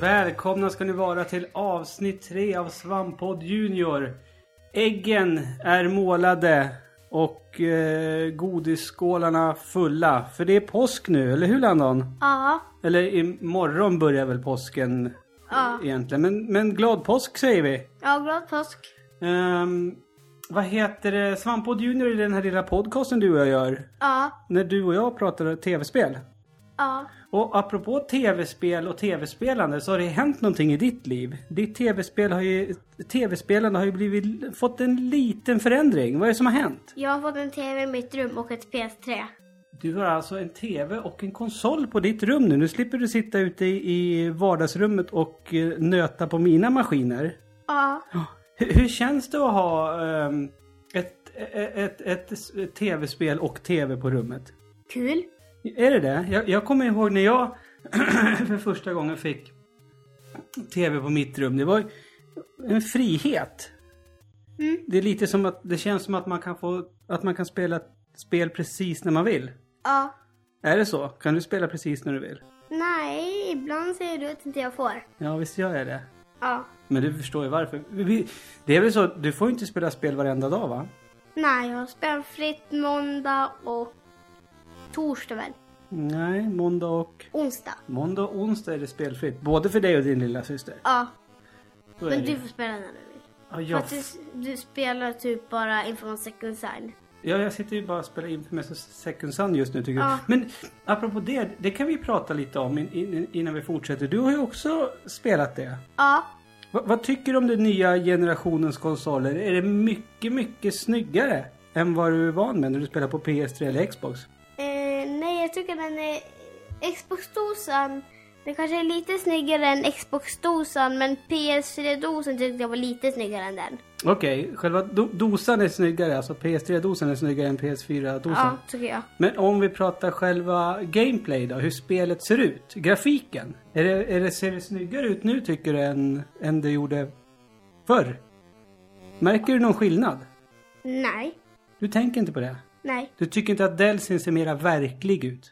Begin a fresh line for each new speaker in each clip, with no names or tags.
välkomna ska ni vara till avsnitt 3 av Svampodd Junior. Äggen är målade och eh, godisskålarna fulla. För det är påsk nu, eller hur Landon?
Ja,
Eller imorgon börjar väl påsken
Ja.
egentligen. Men, men glad påsk säger vi.
ja glad påsk.
Ehm, vad heter det? Svampodd Junior är den här lilla podcasten du och jag gör.
Ja,
När du och jag pratar tv-spel.
ja.
Och apropå tv-spel och tv-spelande så har det hänt någonting i ditt liv. Ditt tv-spel har ju... Tv-spelande har ju blivit... Fått en liten förändring. Vad är det som har hänt?
Jag har fått en TV i mitt rum och ett PS3.
Du har alltså en tv och en konsol på ditt rum nu. Nu slipper du sitta ute i vardagsrummet och eh, nöta på mina maskiner.
Ja,
Hur, hur känns det att ha ehm, ett, e, ett, ett, ett tv-spel och tv på rummet?
kul.
Är det det? Jag, jag kommer ihåg när jag för första gången fick tv på mitt rum. Det var ju en frihet.
Mm.
Det är lite som att det känns som att man kan få att man kan spela ett spel precis när man vill.
Ja.
Är det så? Kan du spela precis när du vill?
Nej, ibland säger du att inte jag får.
Ja, visst gör jag det.
Ja.
Men du förstår ju varför. Vi- vi- Det är väl så att du får ju inte spela spel varenda dag va?
Nej, jag spelar fritt måndag och torsdag väl?
Nej, måndag och...
Onsdag.
Måndag och onsdag är det spelfritt. Både för dig och din lilla syster.
Ja,
Så är
men
det.
du får spela när du vill.
Ja,
För
jag
att du, du spelar typ bara Infamous Second Sign.
Ja, jag sitter ju bara och spelar in för mig som Second Sun just nu tycker jag.
Ja.
Men apropå det, det kan vi prata lite om in, in, innan vi fortsätter. Du har ju också spelat det.
Ja,
Va, vad tycker du om den nya generationens konsoler? Är det mycket, mycket snyggare än vad du är van med när du spelar på PS3 eller Xbox?
Eh, nej, jag tycker den är... Xbox-dosan, den kanske är lite snyggare än Xbox-dosan, men PS4-dosen tyckte jag var lite snyggare än den.
Okej, själva do, dosan är snyggare, alltså PS3-dosan är snyggare än PS4-dosan.
Ja, tycker jag.
Men om vi pratar själva gameplay då, hur spelet ser ut, grafiken. Är det, är det, ser det snyggare ut nu tycker du än, än det gjorde förr? Märker du någon skillnad?
Nej,
Du tänker inte på det?
nej,
Du tycker inte att Delsin ser mera verklig ut?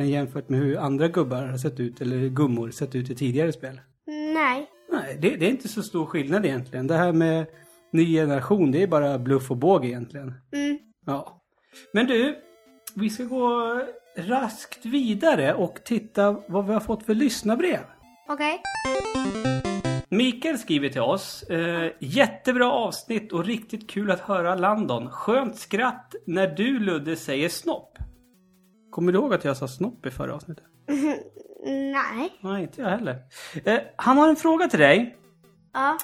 Än jämfört med hur andra gubbar har sett ut, eller gummor, sett ut i tidigare spel?
nej.
Nej, det, det är inte så stor skillnad egentligen. Det här med ny generation, det är bara bluff och båg egentligen.
Mm.
Ja. Men du, vi ska gå raskt vidare och titta vad vi har fått för lyssnarbrev.
Okej.
Mikael skriver till oss. Eh, jättebra avsnitt och riktigt kul att höra Landon. Skönt skratt när du Ludde säger snopp. Kommer du ihåg att jag sa snopp i förra avsnittet?
Nej.
Nej, inte jag heller. Eh, han har en fråga till dig.
Ja,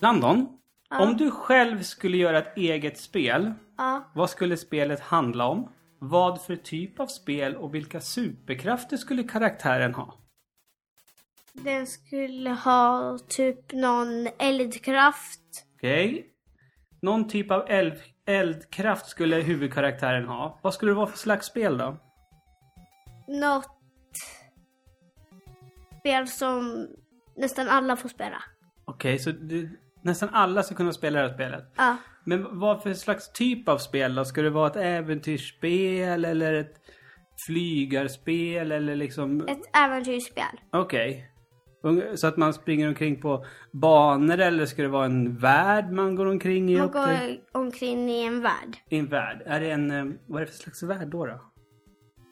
Landon,
Ja.
om du själv skulle göra ett eget spel,
ja.
Vad skulle spelet handla om? Vad för typ av spel och vilka superkrafter skulle karaktären ha?
Den skulle ha typ någon eldkraft.
Okej. Någon typ av eld, eldkraft skulle huvudkaraktären ha. Vad skulle det vara för slags spel då?
Något spel som nästan alla får spela.
Okej, så det, nästan alla ska kunna spela det här spelet.
Ja.
Men vad för slags typ av spel då? Ska det vara ett äventyrsspel eller ett flygarspel eller liksom...
Ett äventyrsspel.
Okej. Ung- Så att man springer omkring på banor eller ska det vara en värld man går omkring i?
Man
och upptäcker-
går omkring i en värld.
I en värld. Är det en... eh, Vad är det för slags värld då? då?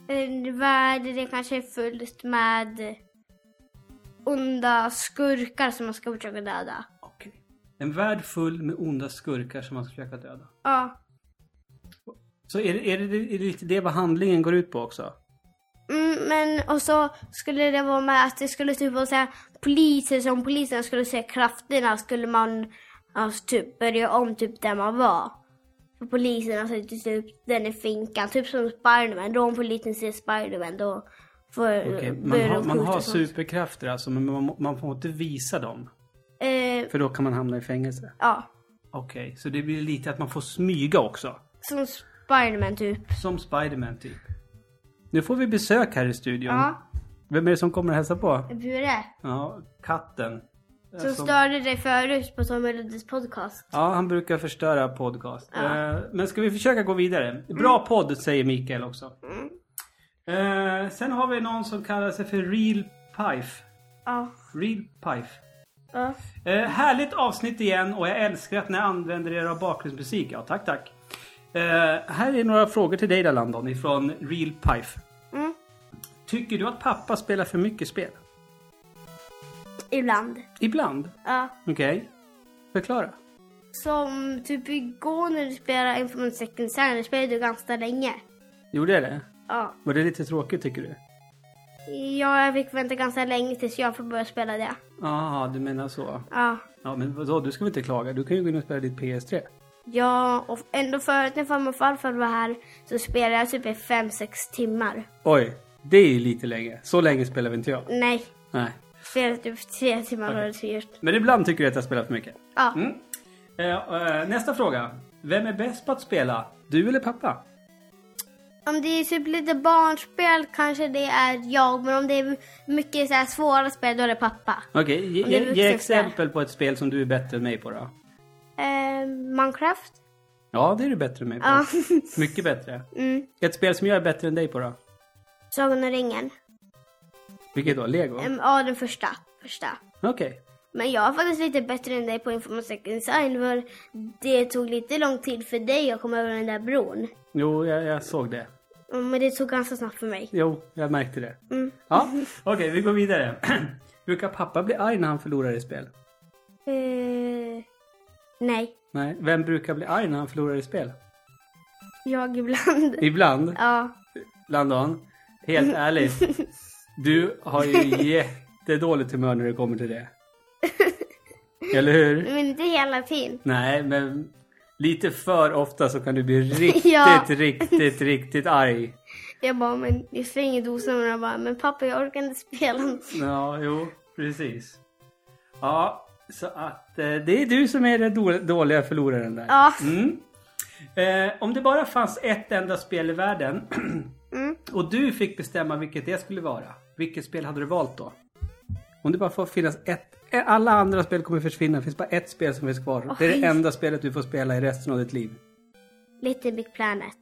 En värld där det kanske är fullt med onda skurkar som man ska försöka döda.
Okej. En värld full med onda skurkar som man ska försöka döda.
Ja.
Så är det, är det, är det lite det vad handlingen går ut på också?
Mm, men och så skulle det vara med att det skulle typ vara så här, poliser som polisen skulle se krafterna skulle man alltså, typ börja om typ där man var. För poliserna sitter typ den i finkan, typ som Spiderman. Då om polisen ser Spiderman då får
Okej, man,
börjar
har,
Eh, de
man har
skjuta sånt.
superkrafter alltså men man, må- man får inte visa dem.
Eh,
För då kan man hamna i fängelse.
ja.
Okej, så det blir lite att man får smyga också.
Som Spiderman typ.
Som Spiderman typ. Nu får vi besök här i studion.
Ja.
Vem är det som kommer och hälsa på?
Bure.
Ja, katten.
Som störde dig förut på Tommy Luddes podcast.
Ja, han brukar förstöra podcast. Eh, Men ska vi försöka gå vidare? Bra podd säger Mikael också. Eh, sen har vi någon som kallar sig för Real Pife.
Ja.
Real Pife.
ja.
Eh, härligt avsnitt igen och jag älskar att ni använder er av bakgrundsmusik. Ja, tack, tack. Eh, här är några frågor till dig där Landon ifrån Real Pife.
Mm.
Tycker du att pappa spelar för mycket spel?
Ibland.
Ibland.
Ja.
Okej. Förklara.
Som typ igår när du spelade Infinite Second Sand, då spelade du ganska länge.
Gjorde jag det?
Ja.
Var det lite tråkigt tycker du?
ja, jag fick vänta ganska länge tills jag får börja spela det.
Jaha, du menar så.
Ja.
Ja, men vadå? Du ska väl inte klaga? Du kan ju gå in och spela ditt PS3.
Ja, och ändå förut när farmor och farfar var här så spelade jag typ i 5-6 timmar.
Oj, det är ju lite länge. Så länge spelar vi inte jag.
Nej,
Nej.
spelade typ 3 timmar var det surt.
Men ibland tycker du att jag spelar för mycket.
Ja,
Mm. Eh, eh, nästa fråga. Vem är bäst på att spela? Du eller pappa?
om det är typ lite barnspel kanske det är jag, men om det är mycket så här svåra spel då är det pappa.
Okej, ge,
Om det är
ge, ge
vuxenspel.
exempel på ett spel som du är bättre än mig på då.
Eh, Minecraft?
Ja, det är du bättre än mig på.
Ja.
Mycket bättre.
Mm.
Ett spel som jag är bättre än dig på då?
Sagan om ringen.
Vilket då? Lego?
Em, Ja, den första. första.
Okej.
Men jag är faktiskt lite bättre än dig på information design för det tog lite lång tid för dig att komma över den där bron.
Jo, jag, jag såg det.
Mm, Men det tog ganska snabbt för mig.
Jo, jag märkte det.
Mm.
Ja, okej, vi går vidare. Brukar pappa bli arg när han förlorar i spel?
Eh, nej,
Nej, vem brukar bli arg när han förlorar i spel?
jag ibland.
Ibland,
Ja, Mm.
Landon, helt ärligt. Du har ju jättedåligt humör när det kommer till det. Eller hur?
men inte hela tiden.
Nej, men lite för ofta så kan du bli riktigt,
Ja.
riktigt, riktigt arg.
Jag bara, men jag slänger dosan och jag bara, men pappa jag orkar inte spela.
Ja, jo, precis. Ja, så att eh, det är du som är den då- dåliga förloraren där.
Ja,
Mm. Eh, om det bara fanns ett enda spel i världen
Mm.
och du fick bestämma vilket det skulle vara, vilket spel hade du valt då? Om det bara får finnas ett, eh, alla andra spel kommer försvinna, det finns bara ett spel som finns kvar. Det är
Oj.
det enda spelet du får spela i resten av ditt liv.
Little Big Planet.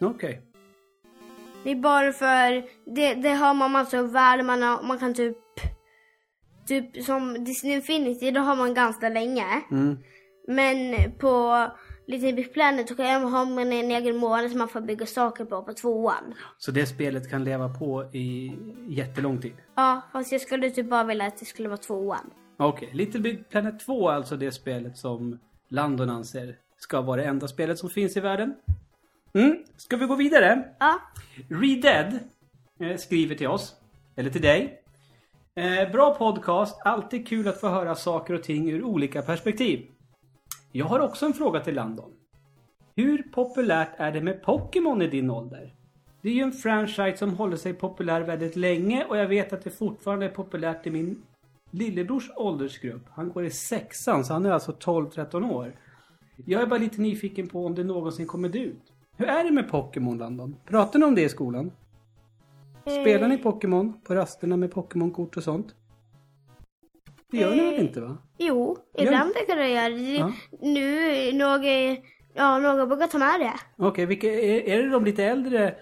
Okej.
Det är bara för, det, det har man massa värld, man, har, man kan typ, typ som Disney Infinity, då har man ganska länge.
Mm.
Men på Little Big Planet så kan man ha man en egen måne som man får bygga saker på, på tvåan.
Så det spelet kan leva på i jättelång tid.
Ja, fast jag skulle typ bara vilja att det skulle vara tvåan.
Okej, Little Big Planet 2 är alltså det spelet som Landon anser ska vara det enda spelet som finns i världen. Mm. Ska vi gå vidare?
Ja.
Redead eh, skriver till oss, eller till dig. Eh, bra podcast, alltid kul att få höra saker och ting ur olika perspektiv. Jag har också en fråga till Landon. Hur populärt är det med Pokémon i din ålder? Det är ju en franchise som håller sig populär väldigt länge och jag vet att det fortfarande är populärt i min lillebrors åldersgrupp. Han går i sexan så han är alltså 12-13 år. Jag är bara lite nyfiken på om det någonsin kommit ut. Hur är det med Pokémon Landon? Pratar ni om det i skolan?
Eh.
Spelar ni Pokémon på rasterna med Pokémon-kort och sånt? Det gör ni väl inte va?
Jo, ibland brukar jag göra det.
Ja.
Nu, är några, ja, några brukar ta med det.
Okej, vilka, är, är det de lite äldre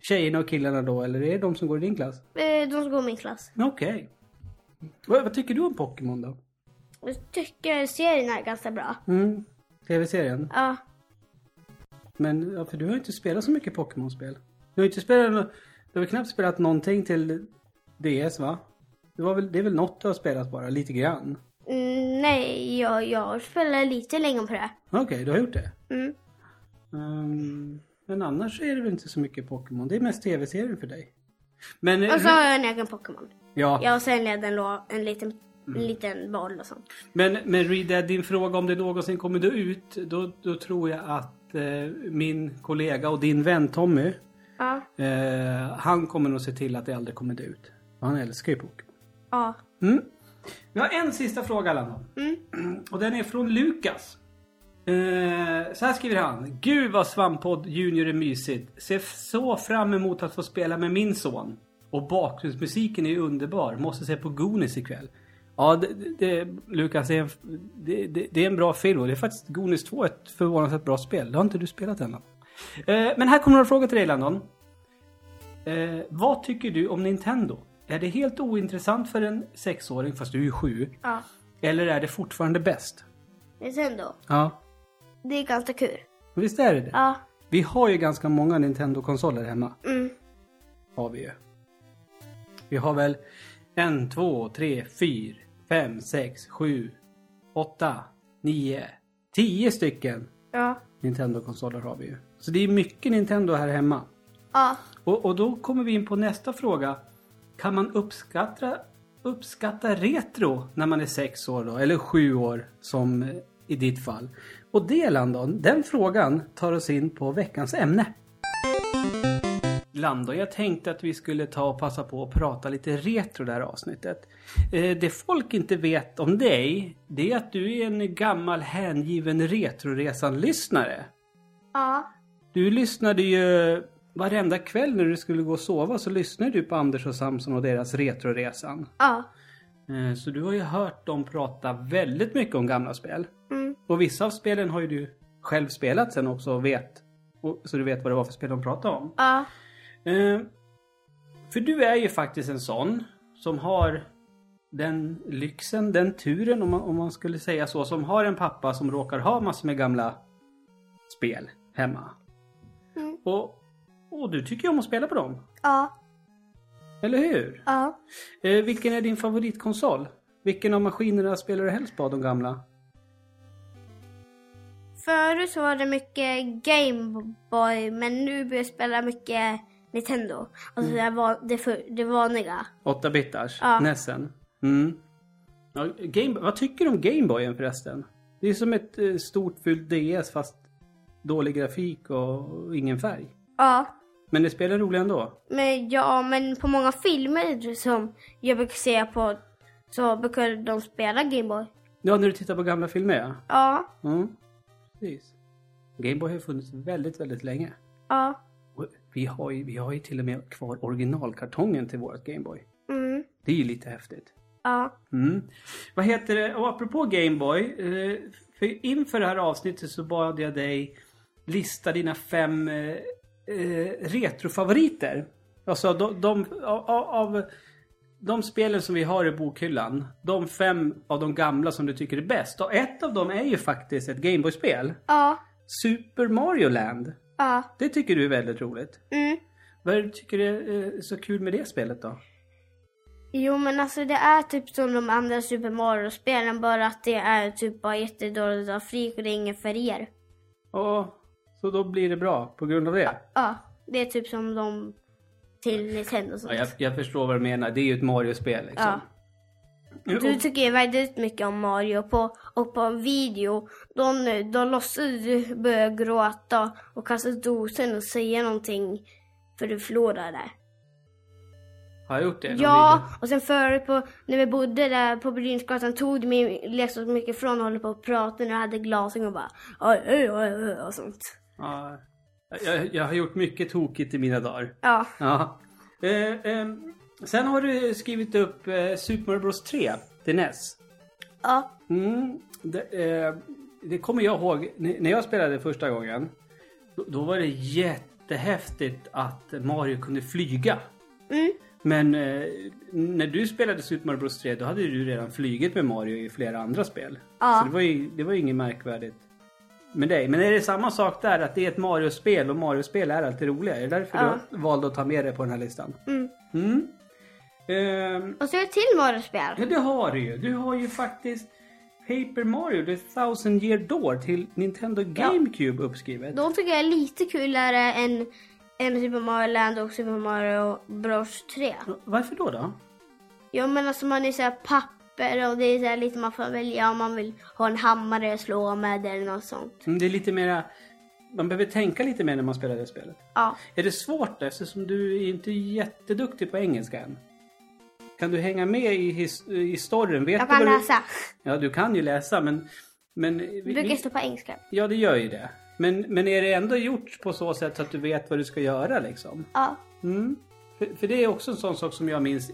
tjejerna och killarna då eller är det de som går i din klass?
Eh, De som går i min klass.
Okej. Vad, vad tycker du om Pokémon då?
Jag tycker serien är ganska bra.
Mm, Tv-serien?
Ja,
Men ja, för du har ju inte spelat så mycket Pokémon-spel. Du har ju inte spelat, nå- du har väl knappt spelat någonting till DS va? Det, var väl, det är väl något du har spelat bara, lite grann?
mm, nej, jag, jag spelar lite länge på det.
Okej, du har gjort det?
Mm.
Ehm, men annars är det väl inte så mycket Pokémon? Det är mest tv-serien för dig. Men... eh,
Och så har jag en egen Pokémon.
ja,
Alltså, Ja, och sen leder en, lå- en liten, en liten boll och sånt.
men, men Reedad, din fråga om det någonsin kommer du ut, då, då tror jag att eh, min kollega och din vän Tommy,
Ja,
eh, han kommer nog se till att det aldrig kommer ut. Han älskar ju Pokémon.
ja.
Mm. Vi har en sista fråga Landon. Och den är från Lukas. Eh, så här skriver han. Gud vad svamppodd junior är mysigt. Ser f- så fram emot att få spela med min son. Och bakgrundsmusiken är ju underbar. Måste se på Goonies ikväll. Ja, det, det, Lukas, det, är en f- det, det, det är en bra film och det är faktiskt Goonies 2 ett förvånansvärt bra spel. Det har inte du spelat än. Landon. Eh, men här kommer några frågor till dig Landon. Eh, vad tycker du om Nintendo? Är det helt ointressant för en sexåring, fast du är ju sju?
Ja.
Eller är det fortfarande bäst?
Nintendo.
Ja.
Det är ganska kul.
Visst är det det?
Ja.
Vi har ju ganska många Nintendo-konsoler hemma.
Mm.
Har vi ju. Vi har väl en, två, tre, fyra, fem, sex, sju, åtta, nio, tio stycken
Ja.
Nintendo-konsoler har vi ju. Så det är mycket Nintendo här hemma.
Ja.
Och, och då kommer vi in på nästa fråga. Kan man uppskatta, uppskatta retro när man är sex år då? Eller sju år som eh, i ditt fall. Och det Landon, den frågan tar oss in på veckans ämne. Landon, jag tänkte att vi skulle ta och passa på att prata lite retro det här avsnittet. Eh, Det folk inte vet om dig, det är att du är en gammal hängiven Retroresan-lyssnare.
Ja.
Du lyssnade ju varenda kväll när du skulle gå och sova så lyssnade du på Anders och Samson och deras Retroresan.
Ja.
Eh, Så du har ju hört dem prata väldigt mycket om gamla spel.
Mm.
Och vissa av spelen har ju du själv spelat sen också och vet. Och, så du vet vad det var för spel de pratade om.
Ja.
Eh, För du är ju faktiskt en sån som har den lyxen, den turen om man, om man skulle säga så, som har en pappa som råkar ha massor med gamla spel hemma.
Mm.
Och, och du tycker ju om att spela på dem,
Ja.
eller hur?
Ja.
Eh, vilken är din favoritkonsol? Vilken av maskinerna spelar du helst på, de gamla?
Förut så var det mycket Gameboy men nu börjar jag spela mycket Nintendo. Alltså det, var, det, för, det vanliga.
8-bitars?
Ja.
Nessen? Mm. Ja, Game, vad tycker du om Gameboyen förresten? Det är som ett eh, stort fyllt DS fast dålig grafik och ingen färg.
Ja.
Men det spelar roligt ändå.
Men, ja, men på många filmer som jag brukar se på så brukar de spela Gameboy.
Ja, när du tittar på gamla filmer ja.
Ja.
Mm. Precis. Gameboy har ju funnits väldigt, väldigt länge.
Ja.
Och Vi har, ju, vi har ju till och med kvar originalkartongen till vårt Gameboy.
Mm.
Det är ju lite häftigt.
Ja.
Mm. Vad heter det? Och apropå Gameboy. eh, För inför det här avsnittet så bad jag dig lista dina fem eh, eh, retrofavoriter. Alltså de, de, av, av de spelen som vi har i bokhyllan. De fem av de gamla som du tycker är bäst. Och ett av dem är ju faktiskt ett Gameboy-spel.
Ja.
Super Mario Land.
Ja.
Det tycker du är väldigt roligt.
Mm.
Vad är det du tycker är eh, så kul med det spelet då?
Jo men alltså det är typ som de andra Super Mario-spelen bara att det är typ bara jättedålig grafik och det är ingen färger.
Ja, så då blir det bra på grund av det?
Ja, det är typ som de till Nintendo och sånt.
Ja, jag, jag förstår vad du menar. Det är ju ett Mario-spel liksom. Ja.
Du tycker ju väldigt mycket om Mario på, och på en video de, de låtsas du börja gråta och kasta dosen och säga någonting för du förlorade.
Har jag gjort det? i någon
Ja,
video?
och sen förut på, när vi bodde där på Brynäsgatan tog du min leksak mycket ifrån och höll på att prata när jag hade glasögon och bara oj, oj, oj, oj och sånt.
ja. Jag, jag har gjort mycket tokigt i mina dagar.
Ja,
Ja. Eh, ehm, sen har du skrivit upp eh, Super Mario Bros 3 till E NES.
ja,
Mm, det, eh, det kommer jag ihåg. N- När jag spelade första gången. Då, då var det jättehäftigt att Mario kunde flyga.
mm,
Men eh, när du spelade Super Mario Bros 3 då hade du redan flugit med Mario i flera andra spel.
Ja.
Så det var ju, det var ju inget märkvärdigt med dig. Men är det samma sak där att det är ett Mario-spel och Mario-spel är alltid roliga? Är det därför
Ja.
du valde att ta med det på den här listan?
mm.
Mm. Ehm,
Och så är det till Mario-spel.
ja, det har du ju. Du har ju faktiskt Paper Mario The Thousand Year Door till Nintendo GameCube uppskrivet.
De tycker jag är lite kulare än, än Super Mario Land och Super Mario Bros 3.
Varför då då?
Ja men alltså man är såhär papper och det är såhär lite man får välja om man vill ha en hammare att slå med eller något sånt.
Mm, Det är lite mera... Man behöver tänka lite mer när man spelar det spelet.
Ja,
Är det svårt då, eftersom du är inte jätteduktig på engelska än? Kan du hänga med i, his- i storyn? Vet
jag
du
kan
vad
läsa.
Du... Ja, du kan ju läsa men... men vi-
Det brukar stå på engelska.
Ja, det gör ju det. Men, men är det ändå gjort på så sätt att du vet vad du ska göra liksom?
Ja,
Mm. För, för det är också en sån sak som jag minns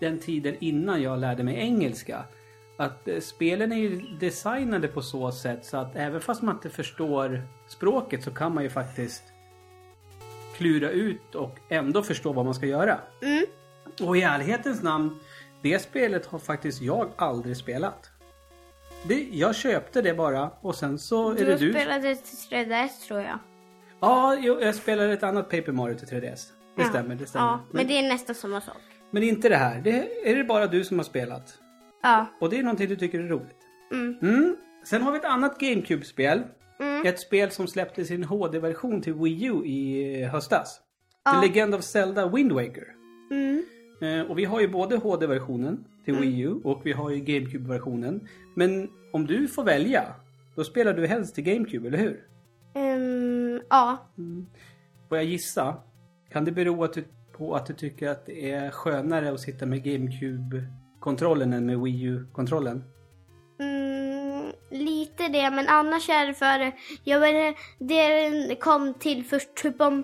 den tiden innan jag lärde mig engelska. Att eh, spelen är ju designade på så sätt så att även fast man inte förstår språket så kan man ju faktiskt klura ut och ändå förstå vad man ska göra.
mm,
Och i ärlighetens namn, det spelet har faktiskt jag aldrig spelat. Det, jag köpte det bara och sen så är det
Du
du.
spelade till 3DS tror jag.
Ja, jo, jag spelade ett annat Paper Mario till 3DS. Det
Ja.
stämmer, det stämmer.
Ja, men
men,
det är nästan samma sak.
men inte det här. Det är det bara du som har spelat.
Ja.
Och det är någonting du tycker är roligt.
Mm.
Mm. Sen har vi ett annat GameCube-spel.
Mm.
Ett spel som släpptes i en HD-version till Wii U i eh, höstas.
Ja.
The Legend of Zelda Wind Waker.
Mm.
Eh, Och vi har ju både HD-versionen till Wii U och vi har ju GameCube-versionen. Men om du får välja, då spelar du helst till GameCube, eller hur?
Ehm, ja.
Får jag gissa? Kan det bero att du, på att du tycker att det är skönare att sitta med GameCube-kontrollen än med Wii U-kontrollen?
Mm, lite det, men annars är det för... Jag vet, det den kom till först typ om...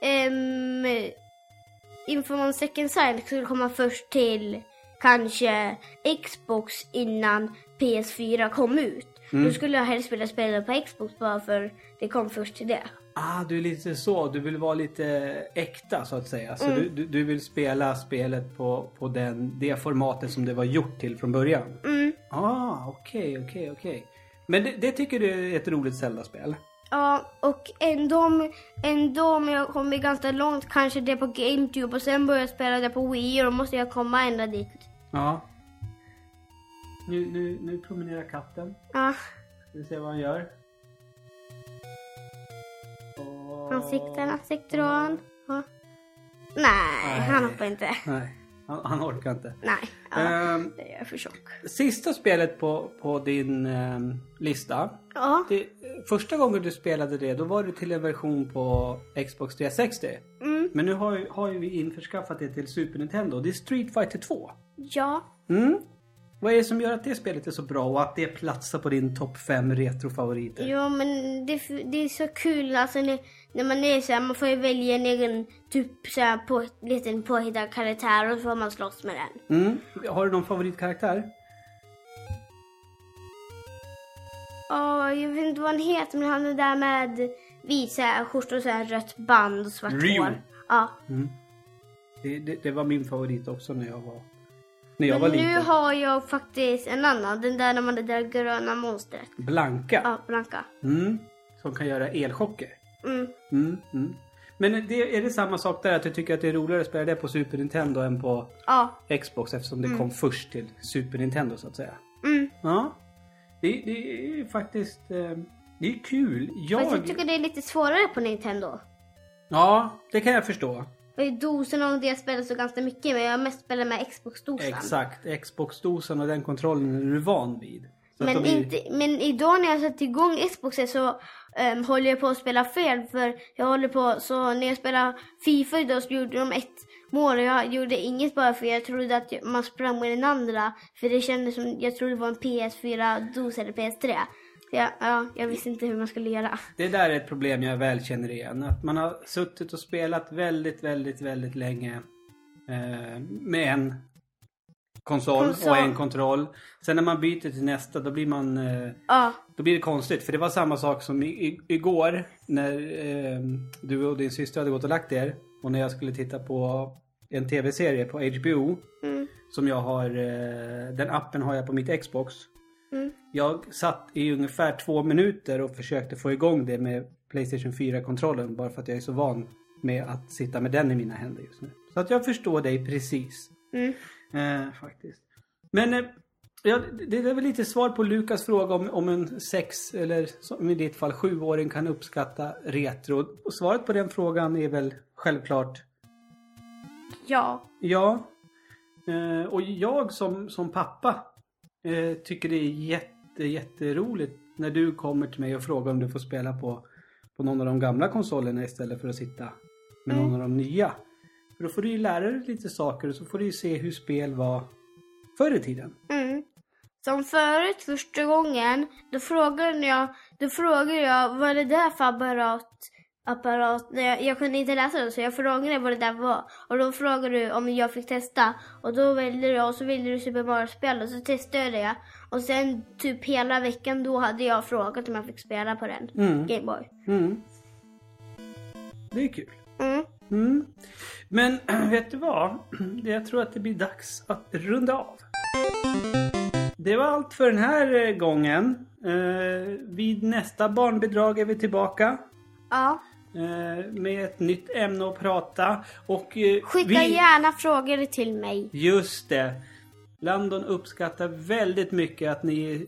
Um, Infamon Second Sight liksom skulle komma först till kanske Xbox innan PS4 kom ut. Då skulle jag helst vilja spela på Xbox bara för det kom först till det.
Ah, du är lite så. Du vill vara lite äkta så att säga. Så du, du, du vill spela spelet på, på den, det formatet som det var gjort till från början?
Mm.
Ah, okej, okej, okej. Men det, det tycker du är ett roligt Zelda-spel?
Ja, och ändå om, ändå om jag kommer ganska långt kanske det på GameTube och sen börjar jag spela det på Wii och då måste jag komma ända dit.
Ja. Nu, nu, nu promenerar katten.
Ja,
Ska vi se vad han gör. Och...
ansikten, ansikten och han. Ja. Nej, han hoppar inte.
Nej, han, han orkar inte.
Nej, ja,
Ehm,
det är jag för tjock.
sista spelet på, på din ehm, lista.
Ja,
Det, första gången du spelade det, då var det till en version på Xbox 360.
mm,
Men nu har, ju- har ju vi införskaffat det till Super Nintendo. Det är Street Fighter 2.
ja.
Mm. Vad är det som gör att det spelet är så bra och att det platsar på din topp 5 retrofavoriter?
Jo, men det, det är så kul alltså när, när man är så här, man får ju välja en egen typ så här på, liten påhittad karaktär och så får man slåss med den.
Mm. Har du någon favoritkaraktär?
Ja, jag vet inte vad han heter men han är där med vit så här skjorta och så här rött band och svart
Ryu.
hår. Ja.
Mm. Det, det, det var min favorit också när jag var, när jag
men
var
nu
liten.
har jag faktiskt en annan, den där när man det där gröna monstret.
Blanka.
Ja, Blanka.
Mm. Som kan göra elchocker.
Mm.
Mm. Mm. Men det, är det samma sak där? Att du tycker att det är roligare att spela det på Super Nintendo än på
Ja.
Xbox eftersom det kom först till Super Nintendo så att säga?
Mm.
Ja. Det, det är ju faktiskt... eh, Det är kul.
Fast
Jag...
jag tycker det är lite svårare på Nintendo.
Ja, det kan jag förstå.
För dosorna och det spelar så ganska mycket men jag har mest spelat med Xbox-dosan.
Exakt. Xbox-dosan och den kontrollen är du van vid. Så att
Men,
de är-
inte, men idag när jag satte igång Xboxen så ehm, håller jag på att spela fel för jag håller på så när jag spelade Fifa idag så gjorde de ett mål och jag gjorde inget bara för jag trodde att jag- man sprang med den andra för det kändes som jag trodde det var en PS4-dos eller PS3. Så jag, ja, jag visste inte hur man skulle göra.
Det där är ett problem jag väl känner igen. Att man har suttit och spelat väldigt, väldigt, väldigt länge eh, med en konsol,
Konsol.
och en kontroll. Sen när man byter till nästa då blir man eh,
Ja,
då blir det konstigt. För det var samma sak som i, i, igår när eh, du och din syster hade gått och lagt er och när jag skulle titta på en tv-serie på HBO
mm,
som jag har, eh, den appen har jag på mitt Xbox.
Mm.
Jag satt i ungefär två minuter och försökte få igång det med Playstation 4-kontrollen bara för att jag är så van med att sitta med den i mina händer just nu. Så att jag förstår dig precis.
mm.
Eh, faktiskt. Men eh, ja, det det är väl lite svar på Lukas fråga om, om en sex eller som i ditt fall sjuåring kan uppskatta retro. Och svaret på den frågan är väl självklart
ja.
Ja. Eh, och jag som, som pappa eh, tycker det är jätte, jätteroligt när du kommer till mig och frågar om du får spela på, på någon av de gamla konsolerna istället för att sitta med någon av de nya. För då får du ju lära dig lite saker och så får du ju se hur spel var förr i tiden.
Mm. Som förut, första gången, då frågade jag, då frågade jag vad det där för apparat, apparat när jag, jag kunde inte läsa det så jag frågade vad det där var. Och då frågade du om jag fick testa. Och då ville jag, och så ville du Super Mario-spel och så testade jag det. Och sen typ hela veckan då hade jag frågat om jag fick spela på den.
Mm.
Gameboy.
Mm. Det är kul.
Mm.
Mm. Men vet du vad? Jag tror att det blir dags att runda av. Det var allt för den här eh, gången. Eh, vid nästa barnbidrag är vi tillbaka
Ja.
eh, med ett nytt ämne att prata. Och, eh,
Skicka
vi...
gärna frågor till mig.
Just det. Landon uppskattar väldigt mycket att ni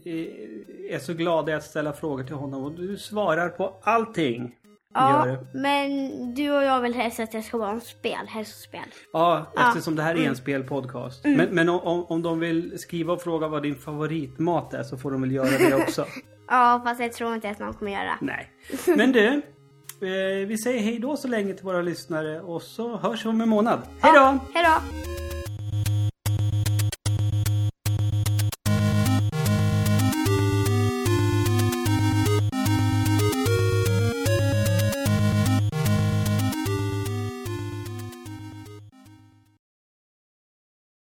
eh, är så glada i att ställa frågor till honom och du svarar på allting. Gör
Ja,
det.
men du och jag vill helst att det ska vara om spel, hälsospel.
Ja, eftersom det här är en spelpodcast. Men, men om- om, om de vill skriva och fråga vad din favoritmat är så får de väl göra det också.
Ja, fast jag tror inte att någon kommer göra.
Nej. Men du, eh, vi säger hej då så länge till våra lyssnare och så hörs vi om en månad. Hej då!
Ja, Hej då!